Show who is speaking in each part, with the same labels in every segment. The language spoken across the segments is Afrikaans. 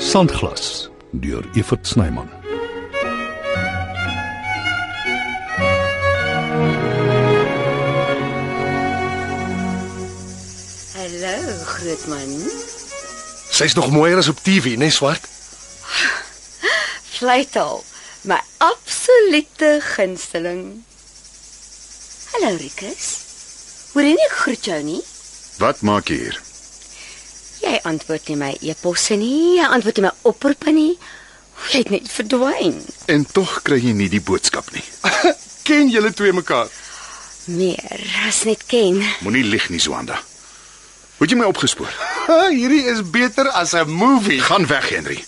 Speaker 1: Sandglas deur Evert Snyman.
Speaker 2: Hallo, grootman.
Speaker 3: Sy's nog mooier as op TV, né, swart?
Speaker 2: Vleital, my absolute gunsteling. Hallo Rikus. Hoor jy nie ek groet jou nie?
Speaker 4: Wat maak jy hier?
Speaker 2: Jy antwoord nie my e-posse nie, jy antwoord nie my oproepe nie. Jy het net verdwyn.
Speaker 4: En tog kry jy nie die boodskap nie.
Speaker 3: Ken julle twee mekaar?
Speaker 2: Meer as net ken.
Speaker 4: Moenie lieg nie, Swanda. Hoe het jy my opgespoor?
Speaker 3: Ha, hierdie is beter as 'n movie.
Speaker 4: Gaan weg, Henry.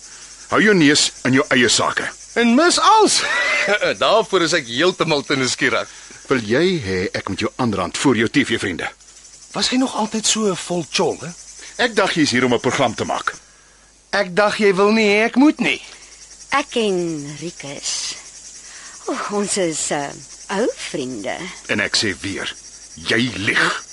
Speaker 4: Hou jou neus in jou eie sake.
Speaker 3: En mis als. Daarvoor is ek heeltemal te nuuskierig.
Speaker 4: Wil jy hê ek moet jou aanrand voor jou TV-vriende?
Speaker 3: Was hy nog altyd so vol chol, hè?
Speaker 4: Ek dink jy's hier om 'n program te maak.
Speaker 3: Ek dacht jy wil nie, hê ek moet nie.
Speaker 2: Ek en Rikus. O, ons is uh, ou vriende.
Speaker 4: En ek sê weer, jy lieg.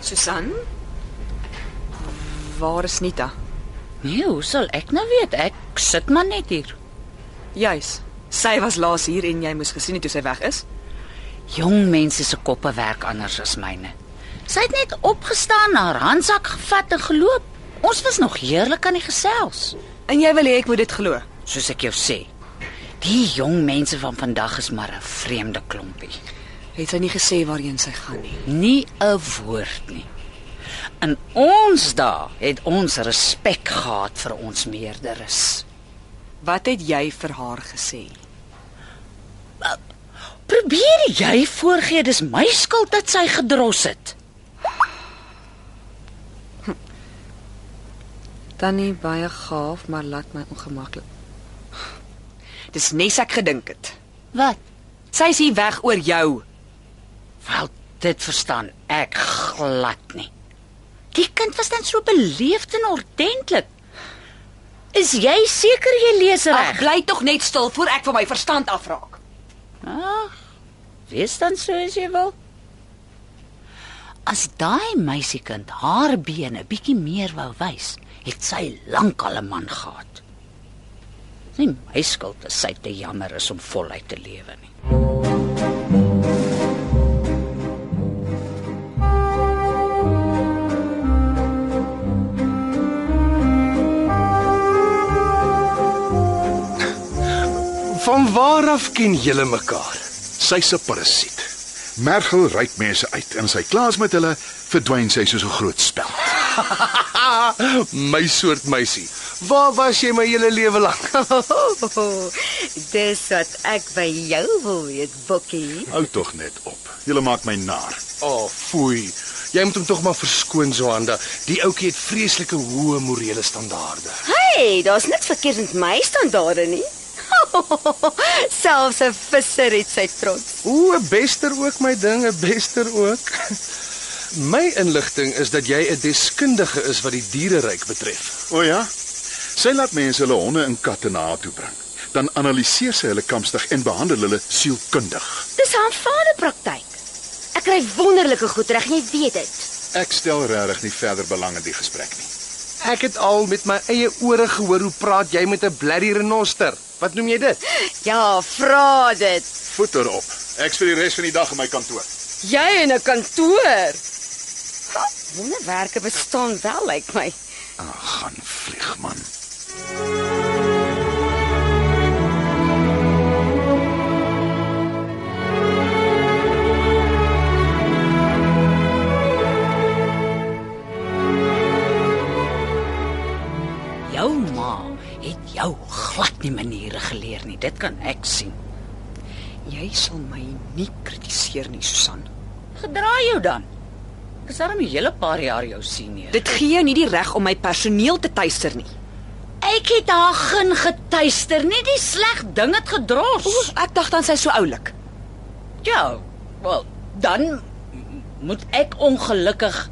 Speaker 5: Susan? Waar is Nita?
Speaker 6: Nee, hoe sal ek nou weet? Ek sit maar net hier.
Speaker 5: Juis. Sy was laas hier en jy moes gesien het toe sy weg is.
Speaker 6: Jong mense se koppe werk anders as myne. Sy het net opgestaan, haar handsak gevat en geloop. Ons was nog heerlik aan die gesels,
Speaker 5: En jy wil hê ek moet dit glo.
Speaker 6: soos ek jou sê. Die jong mense van vandag is maar 'n vreemde klompie.
Speaker 5: Het sy nie gesê waarheen sy gaan nie.
Speaker 6: Nie 'n woord nie. In ons dae het ons respek gehad vir ons meerderes.
Speaker 5: Wat het jy vir haar gesê?
Speaker 6: Probeer jy voorgee dis my skuld dat sy gedros het.
Speaker 5: Tannie baie gaaf, maar laat my ongemaklik. Dis nes ek gedink het.
Speaker 6: Wat?
Speaker 5: Sy is hier weg oor jou.
Speaker 6: Wel, dit verstaan ek glad nie. Die kind was dan so beleefd en ordentlik. Is jy seker jy lees reg?
Speaker 5: bly tog net stil voor ek van my verstand afraak.
Speaker 6: Ag, wees dan soos jy wil. As daai meisiekind haar bene bietjie meer wou wys, het sy lankal 'n man gehad. Sy my skuld is sy te jammer is om voluit te lewe nie.
Speaker 3: Van waar af ken julle mekaar?
Speaker 4: Sy's 'n parasiet. Mergel ryk mense uit en as hy klaar is met hulle, verdwyn sy soos 'n groot speld.
Speaker 3: Ah, my soort meisie. Waar was jy my hele lewe lank?
Speaker 2: Dis wat ek by jou wil weet, Bokkie.
Speaker 4: Hou tog net op. Jy maak my nar.
Speaker 3: O, oh, foei. Jy moet hom tog maar verskoon, Zoanda. Die ouetjie het vreeslike hoë morele standaarde.
Speaker 2: Hey, daar's niks verkeerd met my standaarde nie. Selfs 'n visser het sy trots.
Speaker 3: Ooh, 'n bester ook my ding, 'n bester ook. My inligting is dat jy 'n deskundige is wat die diereryk betref.
Speaker 4: O ja. Sy laat mense hulle honde en katte na haar toe bring. Dan analiseer sy hulle kamstig en behandel hulle sielkundig.
Speaker 2: Dis 'n aanvaarde praktyk. Ek kry wonderlike goed reg, en jy weet dit.
Speaker 4: Ek stel regtig nie verder belang in die gesprek nie.
Speaker 3: Ek het al met my eie ore gehoor hoe praat jy met 'n blerrie renoster. Wat noem jy dit?
Speaker 2: Ja, vra dit.
Speaker 4: Voet haar op. Ek's vir die res van die dag in my kantoor.
Speaker 2: Jy in 'n kantoor. Ha, Wonderwerke bestaan wel, lyk like my.
Speaker 4: Ag, gaan vlieg man.
Speaker 6: Jou ma het jou glad nie maniere geleer nie. Dit kan ek sien.
Speaker 5: Jy sal my nie kritiseer nie, Susan.
Speaker 6: Gedraai jou dan. Dis darem 'n hele paar jaar jou senior.
Speaker 5: Dit gee jou nie die reg om my personeel te tuister nie.
Speaker 6: Ek het haar geen getuister, nie die sleg ding het gedros.
Speaker 5: O, ek dacht dan sy so oulik.
Speaker 6: ja. Wel, dan moet ek ongelukkig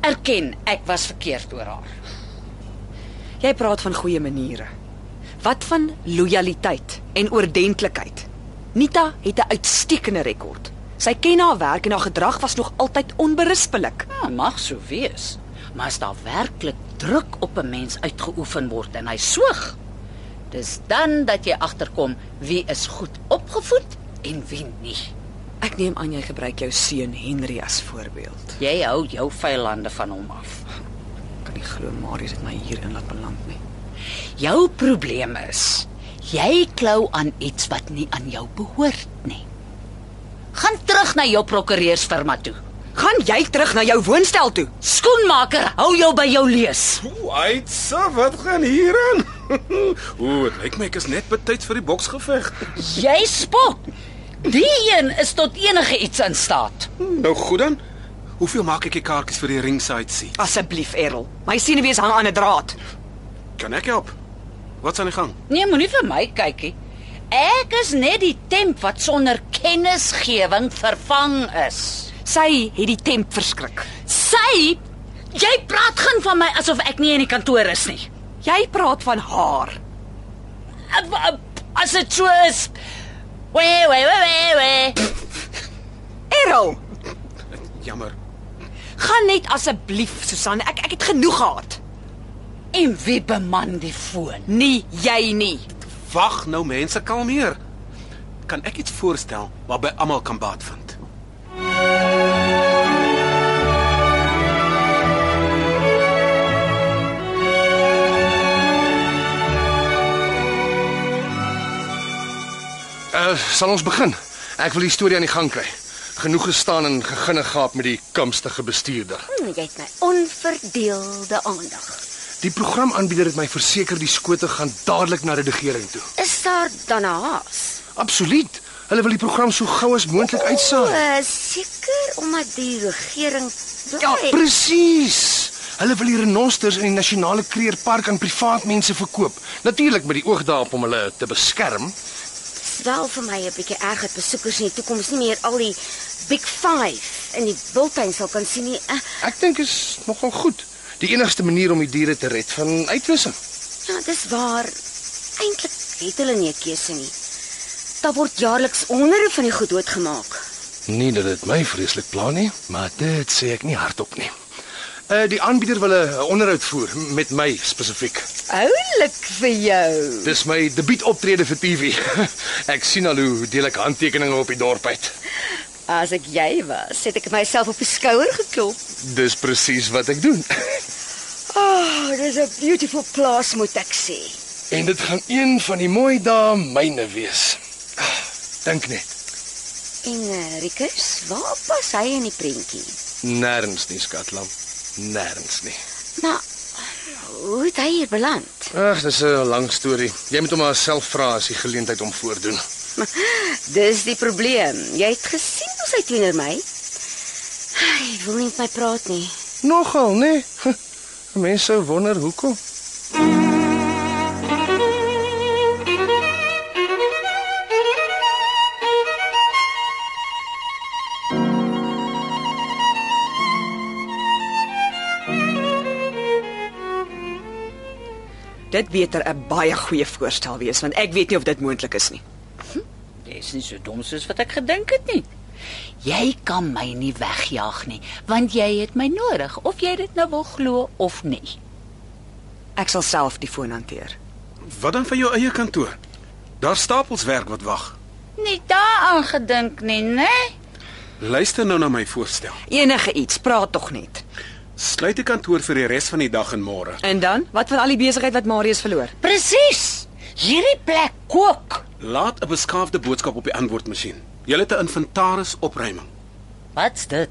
Speaker 6: erken ek was verkeerd oor haar.
Speaker 5: Jy praat van goeie maniere. Wat van lojaliteit en oordentlikheid? Nita het 'n uitstekende rekord. Sy ken haar werk en haar gedrag was nog altyd onberispelik.
Speaker 6: Ja, mag so wees. Maar as daar werklik druk op 'n mens uitgeoefen word en hy soog, dis dan dat jy agterkom wie is goed opgevoed en wie nie.
Speaker 5: Ek neem aan jy gebruik jou seun Henry as voorbeeld.
Speaker 6: Jy hou jou vyande van hom af.
Speaker 5: Ek kan nie glo Marius het my hierin laat beland nie.
Speaker 6: Jou probleem is jy klou aan iets wat nie aan jou behoort nie. Gaan terug na jou prokureursfirma toe.
Speaker 5: Gaan jy terug na jou woonstel toe?
Speaker 6: Skoenmaker, hou jou by jou lees.
Speaker 7: Wait, so wat gaan hier aan? Ooh, dit lyk my ek is net betyds vir die boksgeveg.
Speaker 6: Jy spot. Die een is tot enige iets in staat.
Speaker 7: Nou goed dan. Hoeveel maak ek die kaartjies vir die ringside seat?
Speaker 5: Asseblief, Errol. My senuwees hang aan 'n draad.
Speaker 7: Kan ek help? Wat's aan die gang?
Speaker 6: Nee, moenie vir my kykie. Ek is net die temp wat sonder kennisgewing vervang is.
Speaker 5: Sy het die temp verskrik.
Speaker 6: Sy jy praat gaan van my asof ek nie in die kantoor is nie.
Speaker 5: Jy praat van haar.
Speaker 6: As dit so is. Wee wee wee wee. wee.
Speaker 5: Errol,
Speaker 7: Jammer.
Speaker 5: gaan net asseblief, Susan. Ek ek het genoeg gehad.
Speaker 6: En wie beman die foon?
Speaker 5: Nie jy nie.
Speaker 7: Wag nou mense, kalmeer. Kan ek iets voorstel waarby almal kan baat vind?
Speaker 3: Uh, sal ons begin. Ek wil die storie aan die gang kry. Genoeg gestaan en geginnegaap met die kamstige bestuurder.
Speaker 2: Hm, jy het my onverdeelde aandag.
Speaker 3: Die programaanbieder het my verseker die skote gaan dadelik na die regering toe.
Speaker 2: Is daar dan 'n haas?
Speaker 3: Absoluut. Hulle wil die program so gou as moontlik uitsaai.
Speaker 2: O, Seker omdat die regering
Speaker 3: Ja, presies. Hulle wil die renosters in die nasionale kreerpark aan privaat mense verkoop. Natuurlik met die oog daarop om hulle te beskerm.
Speaker 2: is wel vir my 'n bietjie erg dat besoekers in die toekoms nie meer al die Big 5 in die bultyn sal kan sien nie. Eh,
Speaker 3: Ek dink is nogal goed. Die enigste manier om die diere te red van uitwissing.
Speaker 2: Ja, dis waar. Eintlik het hulle nie 'n keuse nie. Daar word jaarliks honderde van die goed doodgemaak.
Speaker 3: Nie dat dit my vreeslik pla nie, maar dit sê ek nie hardop nie. Uh die aanbieder wil 'n onderhoud voer met my spesifiek.
Speaker 2: Oulik vir jou.
Speaker 3: Dis my debuut optrede vir TV. ek sien al hoe deel ek handtekeninge op die dorp uit.
Speaker 2: As ek jy was, het ek myself op die skouer geklop.
Speaker 3: Dis presies wat ek doen.
Speaker 2: Oh, dis 'n beautiful plaas moet ek sê.
Speaker 3: en dit gaan een van die mooi dae myne wees. Ah, Dink net.
Speaker 2: En uh, Rikus, waar pas hy in die prentjie?
Speaker 3: Nêrens nie, skatlam. Nêrens nie.
Speaker 2: Maar Nou, hoe het hy hier beland?
Speaker 3: Ag, dis 'n lang storie. Jy moet hom maar self vra as jy geleentheid hom voordoen.
Speaker 2: Dis die probleem. Jy het gesien hoe sy teenoor my. Hy wil nie met my praat nie.
Speaker 3: Nogal, né? Nee? Mense sou wonder hoekom.
Speaker 5: Dit beter 'n baie goeie voorstel wees want ek weet nie of dit moontlik is nie.
Speaker 6: Dis nie so dom soos wat ek gedink het nie. Jy kan my nie wegjaag nie, want jy het my nodig of jy dit nou wil glo of nie.
Speaker 5: Ek sal self die foon hanteer.
Speaker 7: Wat dan van jou eie kantoor? Daar stapels werk wat wag.
Speaker 6: Nie daaraan gedink nie, né?
Speaker 7: Luister nou na my voorstel.
Speaker 5: Enige iets, praat tog net.
Speaker 7: Sluit die kantoor vir die res van die dag en môre.
Speaker 5: En dan, wat van al die besigheid wat Marius verloor?
Speaker 6: Presies. Hierdie plek kook.
Speaker 7: Laat 'n beskaafde boodskap op die antwoordmasjien. Jy het 'n inventaris opruiming.
Speaker 6: Wat's dit?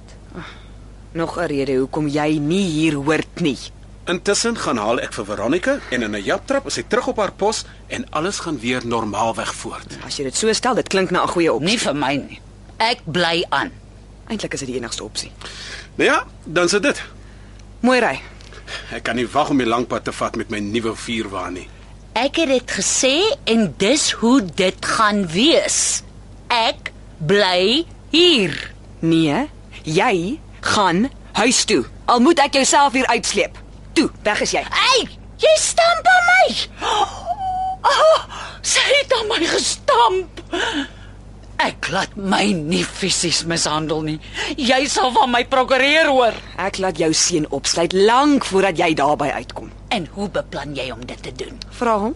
Speaker 5: Nog 'n rede hoekom jy nie hier hoort nie.
Speaker 7: Intussen gaan haal ek vir Veronica en in 'n japtrap is sy terug op haar pos en alles gaan weer normaalweg voort.
Speaker 5: As jy dit so stel, dit klink na 'n goeie opsie.
Speaker 6: Nie vir my nie. Ek bly aan.
Speaker 5: Eintlik is dit die enigste opsie.
Speaker 7: Nou ja, dan sit dit.
Speaker 5: Mooi ry.
Speaker 7: Ek kan nie wag om die lang pad te vat met my nuwe vuurwa nie.
Speaker 6: Ek het dit gesê en dis hoe dit gaan wees. Ek bly hier.
Speaker 5: Nee, jy gaan huis toe. Al moet ek jouself hier uitsleep. Toe, weg is jy.
Speaker 6: Hey, jy stamp aan my. Ah, Sy het aan my gestamp. Ek laat my nie fisies mishandel nie. Jy sal van my prokureer hoor.
Speaker 5: Ek laat jou seun opsluit lank voordat jy daarby uitkom.
Speaker 6: En hoe beplan jy om dit te doen?
Speaker 5: Vra hom.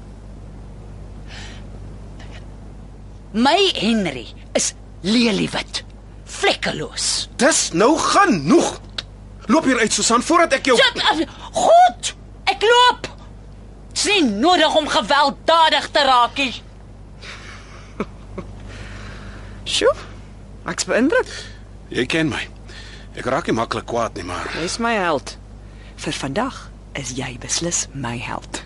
Speaker 6: My Henry is leliewit, vlekkeloos.
Speaker 7: Dis nou genoeg. Loop hier uit Susan voordat ek jou
Speaker 6: Dit is goed. Ek loop. Sien nodig om gewelddadig te raak nie.
Speaker 5: Sjoe. Ek's beïndruk.
Speaker 7: Jy ken my. Ek raak nie maklik kwaad nie, maar
Speaker 5: Jy's my held. Vir vandag is jy beslis my held.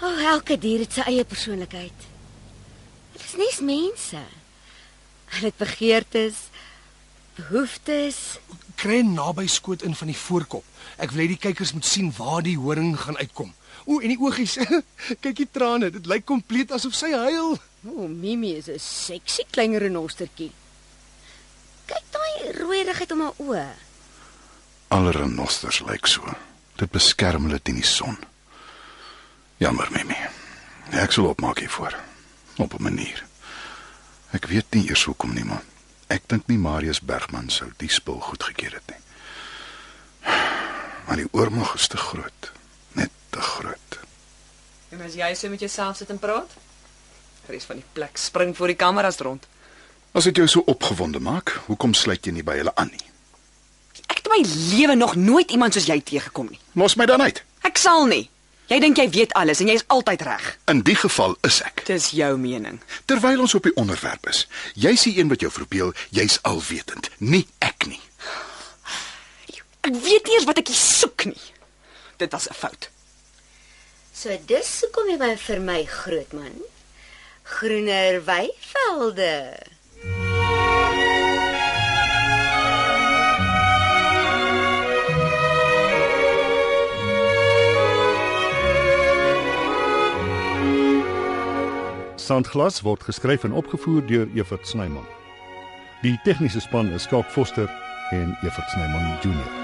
Speaker 8: O, oh, elke dier het sy eie persoonlikheid. Hulle is nes mense. Hulle het begeertes, behoeftes.
Speaker 3: Kry naby skoot in van die voorkop. Ek wil hê die kykers moet sien waar die horing gaan uitkom. O, en die oogies. Kyk die trane. Dit lyk kompleet asof sy huil.
Speaker 8: O, oh, Mimi is 'n seksie klein renostertjie. Kyk daai rooierigheid om haar oë.
Speaker 4: Alle renosters lyk so. Dit beskerm hulle teen die son. Jammer, Mimi. Ek sal opmaak hiervoor op 'n manier. Ek weet nie eers hoekom nie, maar ek dink nie Marius Bergman sou die spul goedgekeur het nie. Maar die oormag is te groot, net te groot.
Speaker 5: En as jy so met jouself sit en praat, res van die plek spring voor die kameras rond.
Speaker 4: As dit jou so opgewonde maak, hoekom sluit jy nie by hulle aan nie?
Speaker 5: Ek het in my lewe nog nooit iemand soos jy tegekom nie.
Speaker 4: Los my dan uit.
Speaker 5: Ek sal nie. Jy dink jy weet alles en jy's altyd reg.
Speaker 4: In die geval is ek.
Speaker 5: Dis jou mening.
Speaker 4: Terwyl ons op die onderwerp is, jy's die een wat jou verbeel jy's alwetend, nie ek nie.
Speaker 5: Ek weet nie eens wat ek hier soek nie. Dit was 'n fout.
Speaker 8: So dis hoekom jy my vir my groot man. Groener weivelde.
Speaker 1: Sandglas word geskryf en opgevoer deur Evert Snyman. Die tegniese span is Skalk Foster en Evert Snyman Junior.